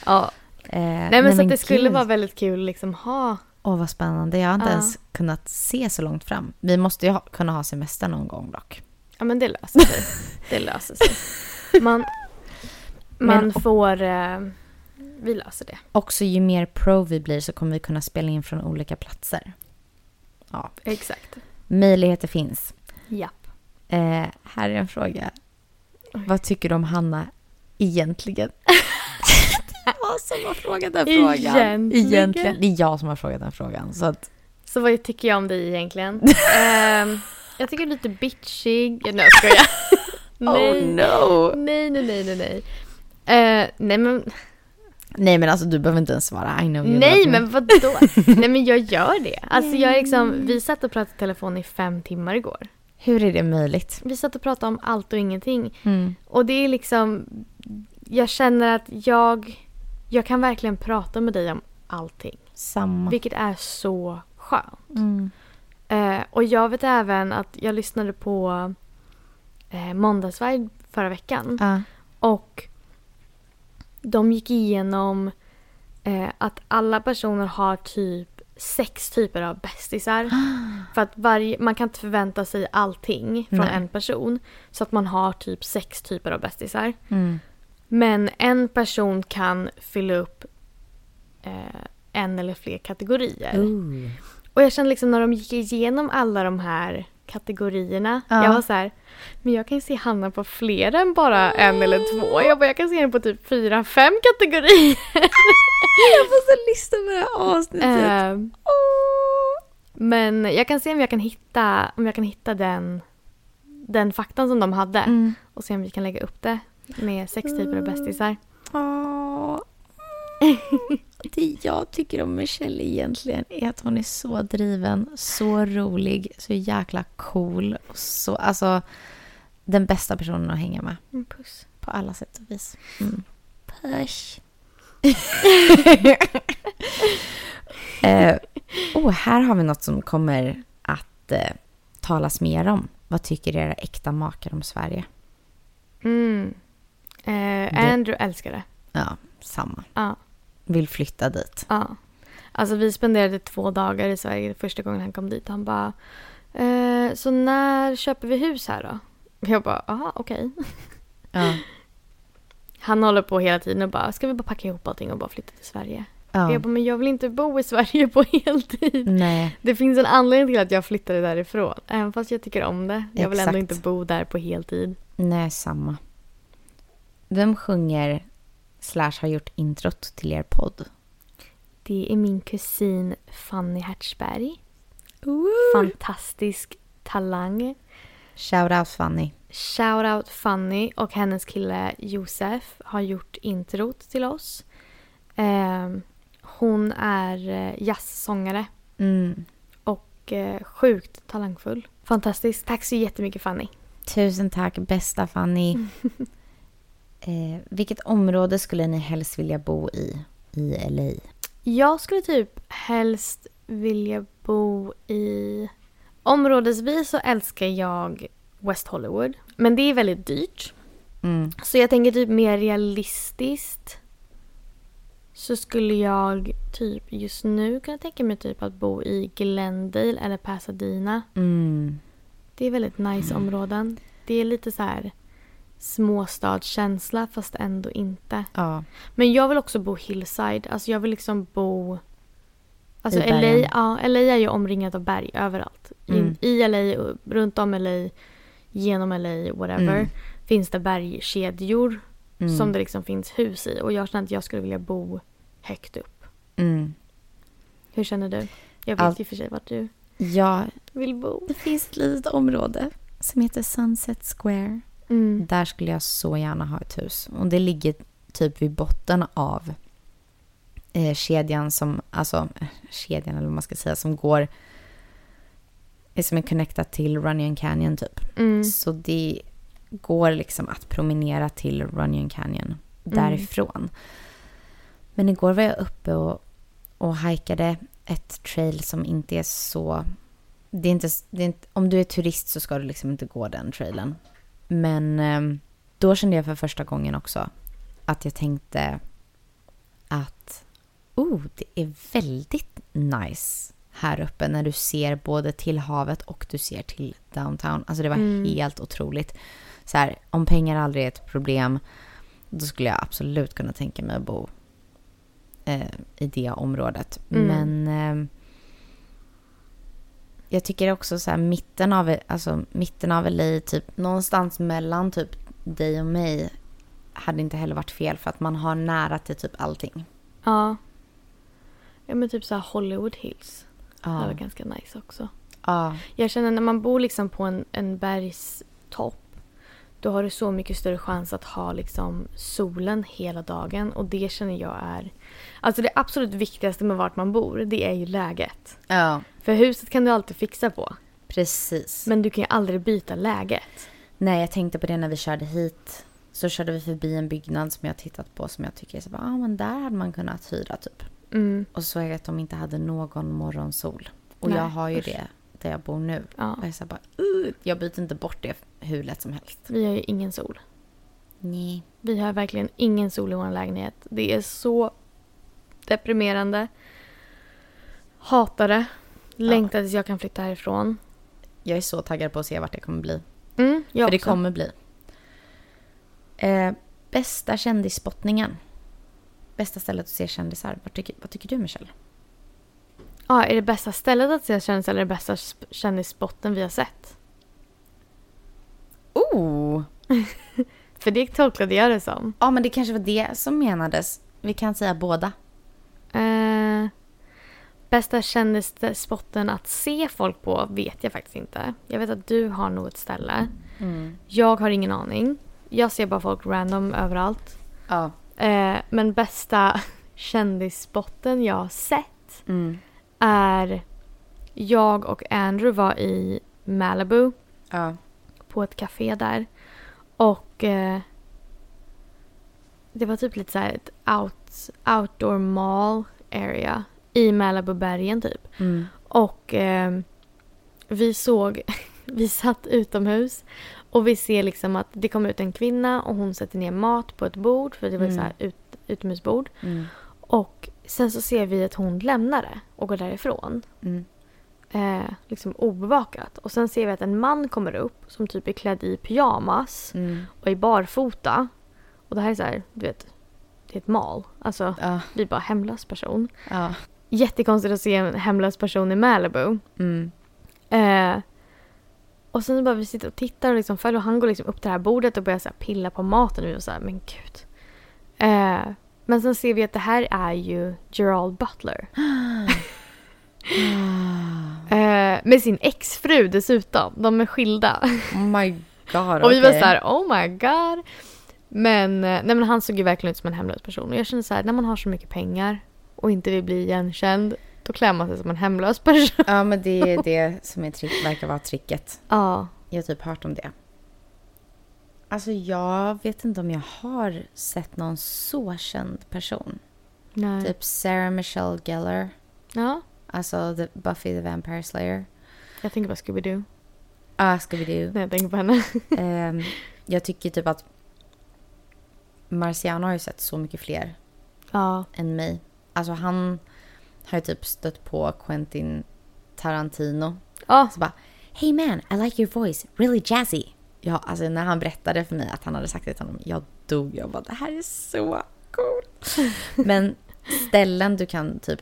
S2: ja.
S1: Eh,
S2: Nej, men så att det skulle
S1: gud.
S2: vara väldigt kul att liksom ha.
S1: Åh, vad spännande. Jag har inte
S2: Ja.
S1: ens kunnat se så långt fram. Vi måste ju ha, kunna ha semester någon gång dock.
S2: Ja, men det löser sig. det löser sig. Man, man
S1: Men-
S2: får... Eh, vi löser det.
S1: Också ju mer pro vi blir så kommer vi kunna spela in från olika platser. Ja,
S2: Exakt.
S1: möjligheter finns.
S2: Japp.
S1: Eh, här är en fråga.
S2: Oj.
S1: Vad tycker du om Hanna egentligen? det var som har frågat den
S2: Egentligen.
S1: frågan. Egentligen. Det är jag som har frågat den frågan. Så att,
S2: Så vad tycker jag om dig egentligen? Ehm, jag tycker du är lite bitchig. Nej, jag skojar.
S1: Oh no!
S2: Nej, nej, nej, nej, nej. Eh, nej men,
S1: Nej men alltså du behöver inte ens svara. I know you
S2: nej
S1: love me.
S2: men vadå? nej men jag gör det. Alltså jag är liksom, vi satt och pratade i telefon i fem timmar igår.
S1: Hur är det möjligt?
S2: Vi satt och pratade om allt och ingenting.
S1: Mm.
S2: Och det är liksom, jag känner att jag, jag kan verkligen prata med dig om allting.
S1: Mm. Samma.
S2: Vilket är så skönt.
S1: Mm.
S2: Eh, och jag vet även att jag lyssnade på eh, Måndagsvibe förra veckan.
S1: Ja.
S2: Och de gick igenom eh, att alla personer har typ sex typer av bästisar. För att varje, man kan inte förvänta sig allting från
S1: Nej.
S2: en person. Så att man har typ sex typer av bästisar.
S1: Mm.
S2: Men en person kan fylla upp eh, en eller fler kategorier.
S1: Ooh.
S2: Och jag kände liksom när de gick igenom alla de här kategorierna.
S1: Ja.
S2: Jag var så här, men jag kan ju se Hanna på fler än bara en eller två. Jag bara, jag kan se henne på typ fyra, fem kategorier.
S1: Jag måste lyssna på det här avsnittet.
S2: Ehm, men jag kan se om jag kan hitta, om jag kan hitta den, den faktan som de hade.
S1: Mm.
S2: Och se om vi kan lägga upp det med sex typer av bästisar.
S1: Åh. Det jag tycker om Michelle egentligen är att hon är så driven, så rolig, så jäkla cool. Och så, alltså, den bästa personen att hänga med
S2: Mm, Puss.
S1: på alla sätt och vis. Mm. Push. eh, oh, här har vi något som kommer att eh, talas mer om. Vad tycker era äkta makar om Sverige?
S2: Mm. Eh, Andrew älskar det.
S1: Ja, samma.
S2: Ja.
S1: Vill flytta dit.
S2: Ja. Alltså vi spenderade två dagar i Sverige första gången han kom dit. Han bara, eh, så när köper vi hus här då? Jag bara, aha okej.
S1: Ja.
S2: Han håller på hela tiden och bara, ska vi bara packa ihop allting och bara flytta till Sverige?
S1: ja.
S2: Jag bara, men jag vill inte bo i Sverige på heltid.
S1: Nej,
S2: Det finns en anledning till att jag flyttade därifrån. Även fast jag tycker om det. Jag vill
S1: Exakt.
S2: ändå inte bo där på heltid.
S1: nej, samma. Vem sjunger slash har gjort introt till er podd?
S2: Det är min kusin Fanny Hertzberg. Fantastisk talang.
S1: Shout out Fanny.
S2: Shoutout Fanny och hennes kille Josef har gjort introt till oss. Ehm, hon är eh, jazzsångare
S1: Mm.
S2: och eh, sjukt talangfull. Fantastiskt. Tack så jättemycket Fanny.
S1: Tusen tack, bästa Fanny.
S2: Mm.
S1: eh, vilket område skulle ni helst vilja bo i, i LA?
S2: Jag skulle typ helst vilja bo i... Områdesvis så älskar jag West Hollywood. Men det är väldigt dyrt.
S1: Mm.
S2: Så jag tänker typ mer realistiskt. Så skulle jag typ just nu kunna tänka mig typ att bo i Glendale eller Pasadena.
S1: Mm.
S2: Det är väldigt nice områden. Det är lite så här småstadskänsla fast ändå inte.
S1: Ja.
S2: Men jag vill också bo hillside. Alltså jag vill liksom bo... Alltså
S1: I
S2: LA,
S1: bergen.
S2: ja, LA är ju omringat av berg överallt.
S1: Mm.
S2: I, I LA, och runt om LA, genom LA, whatever.
S1: Mm.
S2: Finns det bergskedjor
S1: Mm.
S2: som det liksom finns hus i. Och jag känner att jag skulle vilja bo högt upp.
S1: Mm.
S2: Hur känner du? Jag vet
S1: Allt-
S2: ju för sig vart du
S1: Ja,
S2: vill bo.
S1: det finns ett litet område som heter Sunset Square.
S2: Mm.
S1: Där skulle jag så gärna ha ett hus. Och det ligger typ vid botten av eh, kedjan som, alltså eh, kedjan eller vad man ska säga, som går eh, som är connectat till Runyon Canyon typ.
S2: Mm.
S1: Så det går liksom att promenera till Runyon Canyon därifrån. Men igår var jag uppe och, och hajkade ett trail som inte är så... Det är inte, det är inte, om du är turist så ska du liksom inte gå den trailen. Men ehm, då kände jag för första gången också att jag tänkte att oh, det är väldigt nice här uppe när du ser både till havet och du ser till downtown. Alltså det var
S2: Mm.
S1: helt otroligt. Så här, om pengar aldrig är ett problem då skulle jag absolut kunna tänka mig att bo eh, i det området.
S2: Mm.
S1: Men ehm, jag tycker också så här mitten av, alltså, mitten av LA, typ någonstans mellan typ dig och mig hade inte heller varit fel för att man har nära till typ allting.
S2: Ja. Ja men typ så här Hollywood Hills. Det var
S1: Ja.
S2: ganska nice också.
S1: Ja.
S2: Jag känner när man bor liksom på en, en bergstopp då har du så mycket större chans att ha liksom solen hela dagen. Och det känner jag är... Alltså det absolut viktigaste med vart man bor, det är ju läget.
S1: Ja,
S2: För huset kan du alltid fixa på.
S1: precis.
S2: Men du kan ju aldrig byta läget.
S1: Nej, jag tänkte på det när vi körde hit. Så körde vi förbi en byggnad som jag tittat på som jag tycker är så bara, ah, men där hade man kunnat hyra typ.
S2: Mm.
S1: Och så såg jag att de inte hade någon morgonsol. Och
S2: Nej,
S1: jag har ju
S2: usch.
S1: det där jag bor nu.
S2: Ja.
S1: Och jag, så här bara, "Ugh." jag byter inte bort det hur lätt som helst.
S2: Vi har ju ingen sol.
S1: Nej.
S2: Vi har verkligen ingen sol i vår lägenhet. Det är så deprimerande. Hatar det. Längtar tills jag kan flytta härifrån.
S1: Jag är så taggad på att se vart det kommer bli.
S2: Mm, jag
S1: För det
S2: också.
S1: kommer bli. Eh, bästa kändisspottningen. Bästa stället att se kändisar. Vad tycker, vad tycker du Michelle?
S2: Ja, är det bästa stället att se kändisar eller det bästa sp- kändisspotten vi har sett?
S1: Oh!
S2: För det tolkade jag det som.
S1: Ja men det kanske var det som menades. Vi kan säga båda.
S2: Eh, bästa kändisspotten att se folk på vet jag faktiskt inte. Jag vet att du har något ställe.
S1: Mm.
S2: Jag har ingen aning. Jag ser bara folk random överallt.
S1: Ja.
S2: Eh, men bästa kändisspotten jag har sett
S1: Mm.
S2: är... Jag och Andrew var i Malibu
S1: ja.
S2: på ett café där. Och eh, det var typ lite så här ett out, outdoor mall area i Malibubergen typ.
S1: Mm.
S2: Och eh, vi såg, vi satt utomhus och vi ser liksom att det kommer ut en kvinna och hon sätter ner mat på ett bord för det var
S1: Mm.
S2: så här ut, utomhusbord. Och sen så ser vi att hon lämnar det och går därifrån.
S1: Mm.
S2: Eh, liksom obevakat. Och sen ser vi att en man kommer upp som typ är klädd i pyjamas
S1: Mm.
S2: och är barfota. Och det här är så här, du vet, det är ett mal. Alltså,
S1: Ja.
S2: vi är bara hemlös person.
S1: Ja.
S2: Jättekonstigt att se en hemlös person i Malibu.
S1: Mm.
S2: Eh, och sen så bara vi sitter och tittar och liksom följer och han går liksom upp till det här bordet och börjar så här pilla på maten och vi var så här, men gud. Eh, men sen ser vi att det här är ju Gerald Butler. Eh, med sin exfru dessutom. De är skilda.
S1: Oh my god.
S2: och vi var
S1: okej.
S2: så här, oh my god. Men, eh, nej men han såg ju verkligen ut som en hemlös person. Och jag känner så här, när man har så mycket pengar och inte vill bli igenkänd, då klär man sig som en hemlös person.
S1: Ja men det är det som är trick, verkar vara tricket.
S2: Ja.
S1: Jag har typ hört om det. Alltså jag vet inte om jag har sett någon så känd person.
S2: Nej.
S1: Typ Sarah Michelle Gellar.
S2: Ja.
S1: Alltså the Buffy the Vampire Slayer.
S2: Jag tänker på Scooby-Doo
S1: Ah, Scooby-Doo.
S2: när jag tänker på henne.
S1: Ehm, jag tycker typ att Marciano har ju sett så mycket fler
S2: Ja.
S1: än mig. Alltså han har ju typ stött på Quentin Tarantino.
S2: Ja.
S1: Så bara, hey man, I like your voice, really jazzy. Ja, alltså när han berättade för mig att han hade sagt det till honom, jag dog. Jag bara, det här är så coolt. Men ställen du kan typ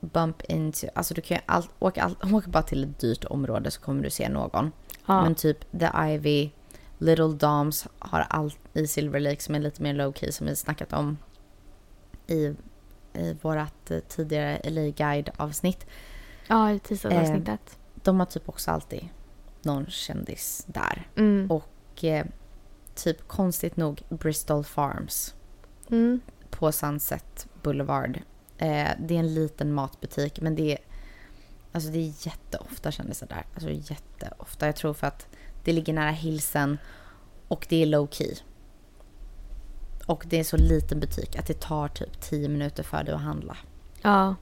S1: bump into, alltså du kan ju all, åka, all, åka bara till ett dyrt område så kommer du se någon.
S2: Ja.
S1: Men typ The Ivy, Little Doms har allt i Silver Lake som är lite mer low key som vi snackat om i, i vårat eh, tidigare LA Guide avsnitt.
S2: ja, i tisdagsavsnittet.
S1: De har typ också alltid någon kändis där.
S2: Mm.
S1: Och eh, typ konstigt nog Bristol Farms
S2: Mm.
S1: på Sunset Boulevard. Eh, det är en liten matbutik men det är, alltså det är jätteofta kändisar där. Alltså jätteofta. Jag tror för att det ligger nära Hilsen och det är low key. Och det är så liten butik att det tar typ 10 minuter för dig att handla.
S2: Ja.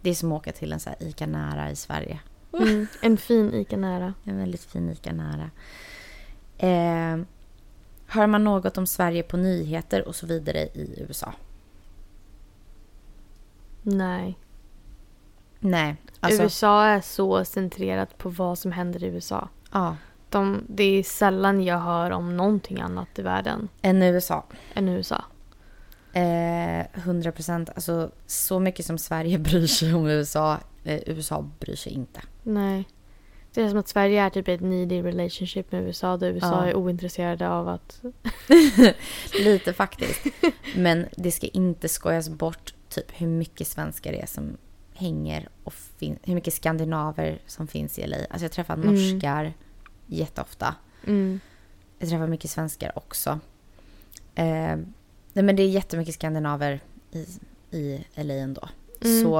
S1: Det är som att åka till en så här ICA nära i Sverige.
S2: Mm. En fin ICA nära.
S1: En väldigt fin ICA nära. Eh, hör man något om Sverige på nyheter och så vidare i USA?
S2: Nej.
S1: Nej, alltså
S2: USA är så centrerat på vad som händer i USA.
S1: ja,
S2: De, det är sällan jag hör om någonting annat i världen
S1: en USA.
S2: än USA.
S1: Eh, 100 procent. Alltså så mycket som Sverige bryr sig om USA. Eh, USA bryr sig inte.
S2: Nej. Det är som att Sverige är typ i ett needy relationship med USA där USA
S1: Ja.
S2: är ointresserade av att...
S1: Lite faktiskt. Men det ska inte skojas bort typ hur mycket svenskar det är som hänger och fin- hur mycket skandinaver som finns i LA. Alltså jag träffar
S2: Mm.
S1: norskar jätteofta.
S2: Mm.
S1: Jag träffar mycket svenskar också. Eh, nej, men det är jättemycket skandinaver i, i LA ändå.
S2: Mm.
S1: Så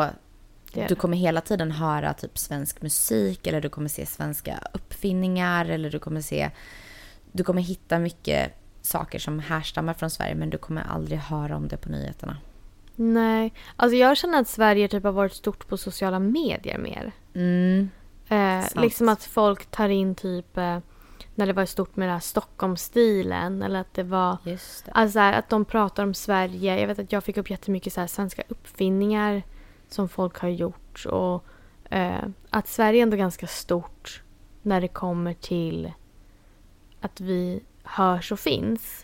S2: Det är
S1: du
S2: det.
S1: kommer hela tiden höra typ svensk musik eller du kommer se svenska uppfinningar eller du kommer se... Du kommer hitta mycket saker som härstammar från Sverige men du kommer aldrig höra om det på nyheterna.
S2: Nej. Alltså jag känner att Sverige typ har varit stort på sociala medier mer.
S1: Mm.
S2: Eh,
S1: Sant.
S2: liksom att folk tar in typ eh, när det var stort med den här Stockholmsstilen eller att det var
S1: Just det.
S2: Alltså så här, att de pratar om Sverige. Jag vet att jag fick upp jättemycket så här, svenska uppfinningar som folk har gjort. Och eh, att Sverige är ändå ganska stort när det kommer till att vi hörs och finns.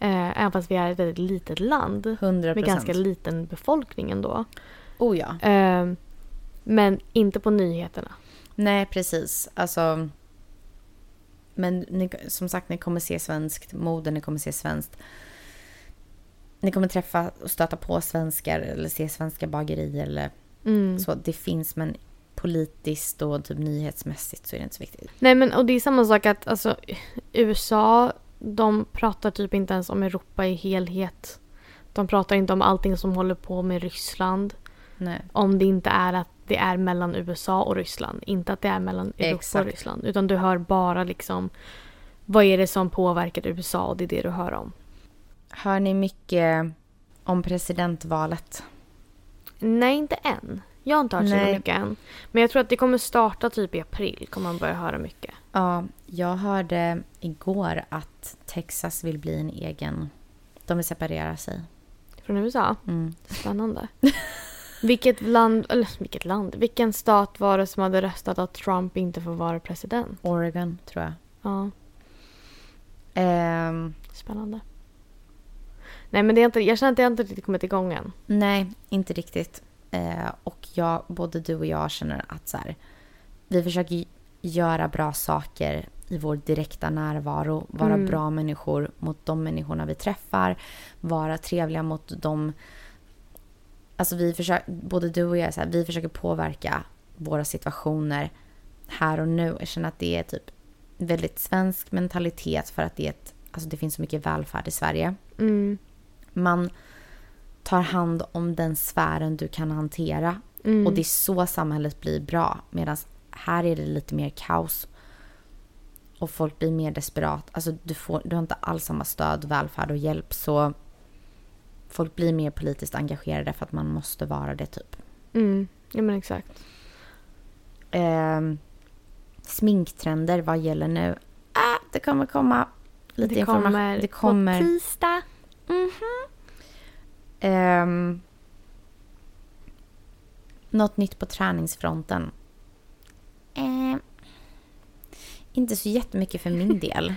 S2: Eh, även fast vi är ett väldigt litet land
S1: 100
S2: med ganska
S1: procent.
S2: liten befolkning ändå.
S1: Oh ja.
S2: Eh, men inte på nyheterna.
S1: Nej, precis. Alltså, men ni, som sagt, ni kommer se svenskt mode, ni kommer se svenskt... Ni kommer träffa och stöta på svenskar eller se svenska bagerier eller
S2: Mm.
S1: så. Det finns, men politiskt och typ nyhetsmässigt så är det inte så viktigt.
S2: Nej men och det är samma sak att alltså, USA, de pratar typ inte ens om Europa i helhet. De pratar inte om allting som håller på med Ryssland.
S1: Nej.
S2: Om det inte är att det är mellan USA och Ryssland. Inte att det är mellan Europa
S1: Exakt.
S2: och Ryssland. Utan du hör bara liksom vad är det som påverkar USA och det är det du hör om.
S1: Hör ni mycket om presidentvalet?
S2: Nej, inte än. Jag har inte hört så
S1: Nej.
S2: mycket än. Men jag tror att det kommer starta typ i april. Kommer man börja höra mycket.
S1: Ja, jag hörde igår att Texas vill bli en egen... De vill separera sig.
S2: Från USA.
S1: Mm.
S2: Spännande. Vilket land, eller vilket land, vilken stat var det som hade röstat att Trump inte får vara president?
S1: Oregon, tror jag.
S2: Ja,
S1: Ehm,
S2: spännande. Nej men det är inte, jag känner att det inte riktigt kommit igång än.
S1: Nej, inte riktigt. Eh, och jag, både du och jag känner att så här, vi försöker ju göra bra saker i vår direkta närvaro. Vara
S2: Mm.
S1: bra människor mot de människorna vi träffar. Vara trevliga mot de... Alltså vi försöker, både du och jag, är så här, vi försöker påverka våra situationer här och nu. Jag känner att det är typ väldigt svensk mentalitet för att det, är ett, alltså det finns så mycket välfärd i Sverige
S2: Mm,
S1: man tar hand om den sfären du kan hantera.
S2: mm,
S1: Och det är så samhället blir bra. Medan här är det lite mer kaos. Och folk blir mer desperat. Alltså du, får, du har inte alls samma stöd, välfärd och hjälp. Så folk blir mer politiskt engagerade för att man måste vara det typ.
S2: mm, ja men exakt.
S1: Ehm, sminktrender, vad gäller nu? Ah, det kommer komma lite
S2: det
S1: information.
S2: kommer,
S1: det kommer
S2: på tisdag.
S1: Ehm, något nytt på träningsfronten? Ehm, inte så jättemycket för min del.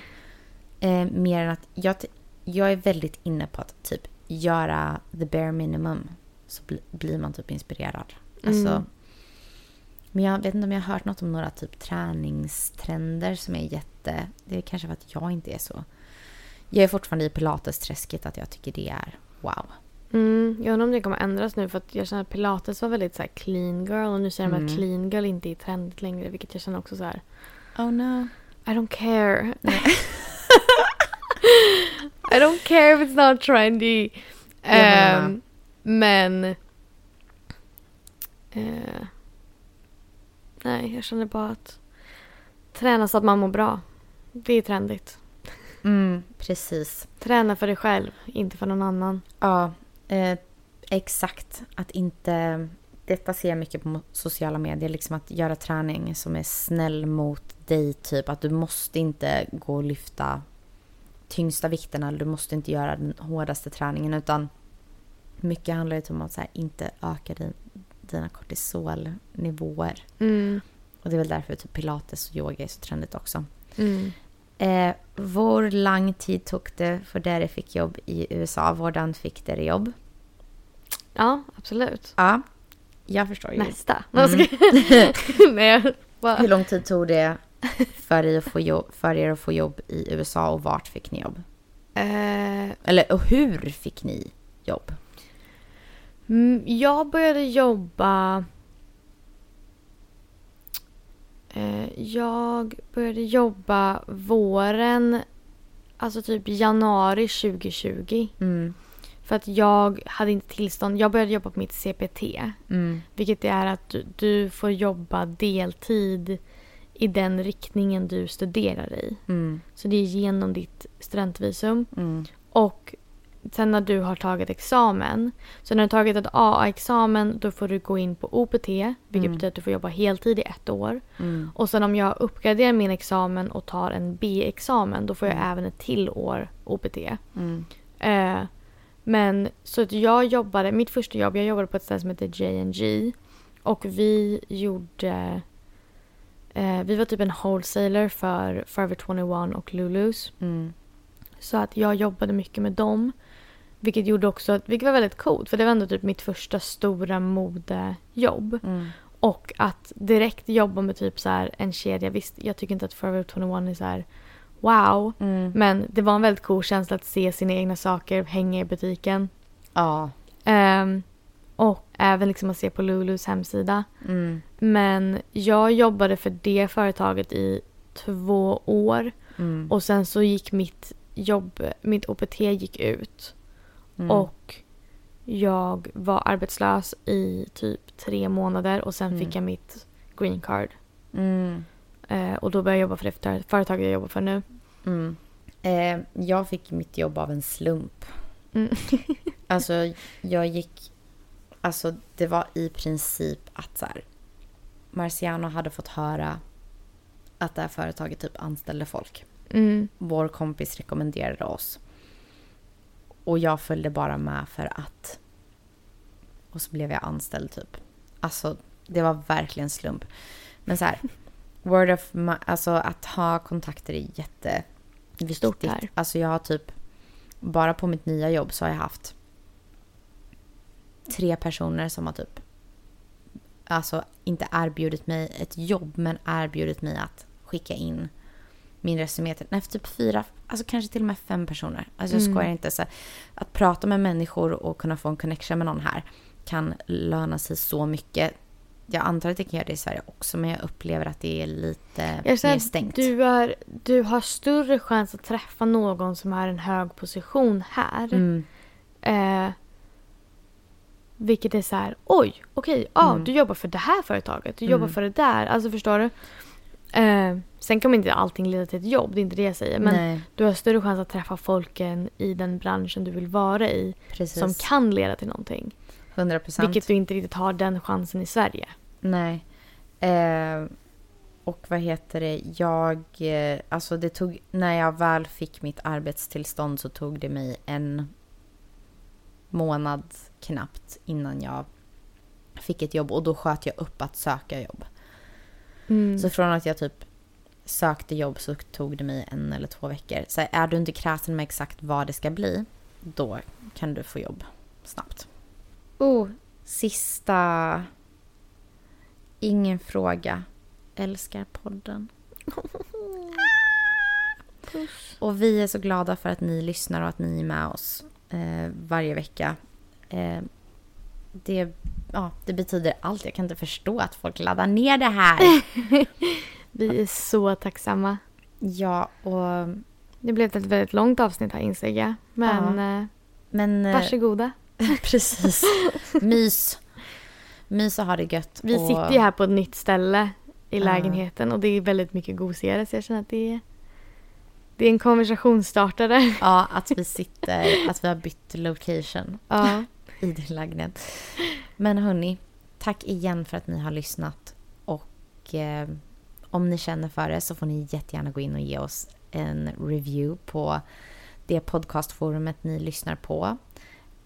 S1: Ehm, mer än att jag, t- jag är väldigt inne på att typ göra the bare minimum. Så bli, blir man typ inspirerad. Alltså,
S2: Mm.
S1: men jag vet inte om jag har hört något om några typ träningstrender som är jätte... Det är kanske för att jag inte är så. Jag är fortfarande i pilatesträsket att jag tycker det är wow.
S2: Mm, jag undrar om det kommer ändras nu för att jag känner att pilates var väldigt så här clean girl och nu säger de
S1: Mm.
S2: att clean girl inte är trendigt längre vilket jag känner också så här.
S1: Oh no.
S2: I don't care. I don't care if it's not trendy.
S1: Jag menar-
S2: Ehm, men... eh, nej, jag känner bara att träna så att man mår bra. Det är trendigt.
S1: Mm, precis.
S2: Träna för dig själv, inte för någon annan.
S1: Ja, eh, exakt. Att inte... Detta ser jag mycket på mo- sociala medier. Liksom att göra träning som är snäll mot dig. Typ att du måste inte gå och lyfta tyngsta vikterna. eller Du måste inte göra den hårdaste träningen. Utan mycket handlar ju typ om att så här, inte öka din, dina kortisolnivåer.
S2: Mm.
S1: Och det är väl därför typ pilates och yoga är så trendigt också.
S2: Mm.
S1: Eh, hvor lang tid tok det for dere fikk jobb i USA? Hvordan fikk dere jobb?
S2: Ja, absolut.
S1: Ja, jag förstår ju.
S2: Nästa.
S1: Mm.
S2: nej, jag bara...
S1: Hur lång tid tog det för er, att få jobb, för er att få jobb i USA och vart fick ni jobb?
S2: Eh,
S1: Eller och hur fick ni jobb?
S2: Mm, Jag började jobba... Eh, Jag började jobba våren alltså typ januari 2020.
S1: Mm.
S2: För att jag hade inte tillstånd. Jag började jobba på mitt CPT.
S1: Mm.
S2: Vilket är att du, du får jobba deltid i den riktningen du studerar i.
S1: Mm.
S2: Så det är genom ditt studentvisum.
S1: Mm.
S2: Och sen när du har tagit examen. Så när du har tagit ett AA-examen då får du gå in på OPT. Vilket
S1: Mm.
S2: betyder att du får jobba heltid i ett år.
S1: Mm.
S2: Och sen om jag uppgraderar min examen och tar en B-examen då får jag
S1: Mm.
S2: även ett till år OPT.
S1: Mm.
S2: Eh, men så att jag jobbade, mitt första jobb, jag jobbade på ett ställe som heter J&G och vi gjorde, eh, vi var typ en wholesaler för Forever 21 och Lulus.
S1: Mm.
S2: Så att jag jobbade mycket med dem. Vilket gjorde också, att- vilket var väldigt coolt för det var ändå typ mitt första stora modejobb.
S1: Mm.
S2: Och att direkt jobba med typ så här en kedja, visst jag tycker inte att Forever 21 är så här wow.
S1: Mm.
S2: Men det var en väldigt cool känsla att se sina egna saker hänga i butiken.
S1: Ja.
S2: Ehm, och även liksom att se på Lulus hemsida.
S1: Mm.
S2: Men jag jobbade för det företaget i två år
S1: Mm.
S2: och sen så gick mitt jobb, mitt OPT gick ut
S1: Mm.
S2: och jag var arbetslös i typ tre månader och sen
S1: Mm.
S2: fick jag mitt green card.
S1: Mm.
S2: Eh, och då började jag jobba för det företag- företaget jag jobbar för nu.
S1: Mm. Eh, jag fick mitt jobb av en slump.
S2: Mm.
S1: alltså, jag gick... Alltså, det var i princip att så här, Marciano hade fått höra att det här företaget typ anställde folk.
S2: Mm,
S1: Vår kompis rekommenderade oss. Och jag följde bara med för att. Och så blev jag anställd typ. Alltså, det var verkligen slump. Men så här, word of ma- alltså att ha kontakter är jätte
S2: Stort där.
S1: Alltså jag har typ, bara på mitt nya jobb så har jag haft tre personer som har typ, alltså inte erbjudit mig ett jobb men erbjudit mig att skicka in min resumé till, nej typ fyra, alltså kanske till och med fem personer. Alltså jag
S2: Mm.
S1: skojar inte. Så här, att prata med människor och kunna få en connection med någon här kan löna sig så mycket. Jag antar att det kan göra det i Sverige också men jag upplever att det är lite
S2: Jag säger
S1: mer
S2: att
S1: stängt.
S2: Du, är, du har större chans att träffa någon som har en hög position här.
S1: Mm.
S2: Eh, vilket är så här, oj, okej, ja,
S1: Mm.
S2: du jobbar för det här företaget, du jobbar
S1: Mm.
S2: för det där, alltså förstår du? Eh, sen kommer inte allting leda till ett jobb, det är inte det jag säger, men
S1: Nej,
S2: du har större chans att träffa folken i den branschen du vill vara i
S1: precis.
S2: som kan leda till någonting.
S1: 100 procent.
S2: Vilket du inte riktigt har den chansen i Sverige.
S1: Nej. Eh, och vad heter det, jag... Eh, alltså det tog... När jag väl fick mitt arbetstillstånd så tog det mig en månad knappt innan jag fick ett jobb och då sköt jag upp att söka jobb.
S2: Mm.
S1: Så från att jag typ sökte jobb så tog det mig en eller två veckor. Så här, är du inte kräsen med exakt vad det ska bli, då kan du få jobb snabbt.
S2: oh,
S1: Sista... Ingen fråga. Älskar podden. Och vi är så glada för att ni lyssnar och att ni är med oss eh, varje vecka. Eh, det, ja, det betyder allt. Jag kan inte förstå att folk laddar ner det här.
S2: vi är så tacksamma.
S1: Ja, och...
S2: Det blev ett väldigt långt avsnitt här inser jag. Men eh,
S1: Men... eh,
S2: varsågoda.
S1: precis. Mys. Mys och ha det gött.
S2: Vi
S1: och,
S2: sitter ju här på ett nytt ställe i
S1: Ja.
S2: lägenheten och det är väldigt mycket gosigare så jag känner att det är, det är en konversationsstartare.
S1: Ja, att vi sitter... Att vi har bytt location.
S2: Ja.
S1: i din lägenhet. Men hörni, tack igen för att ni har lyssnat. Och eh, om ni känner för det så får ni jättegärna gå in och ge oss en review på det podcastforumet ni lyssnar på.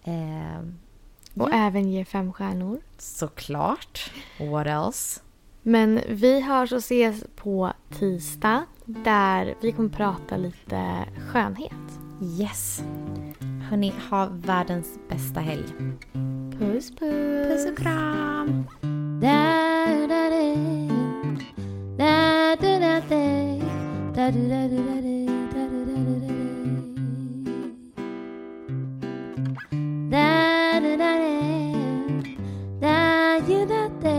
S1: Eh,
S2: Och
S1: ja,
S2: även ger fem stjärnor.
S1: såklart. What else?
S2: Men vi hörs och ses på tisdag där vi kommer prata lite skönhet.
S1: Yes. Hörni, ha världens bästa helg.
S2: Puss puss!
S1: Puss och kram!
S3: Da da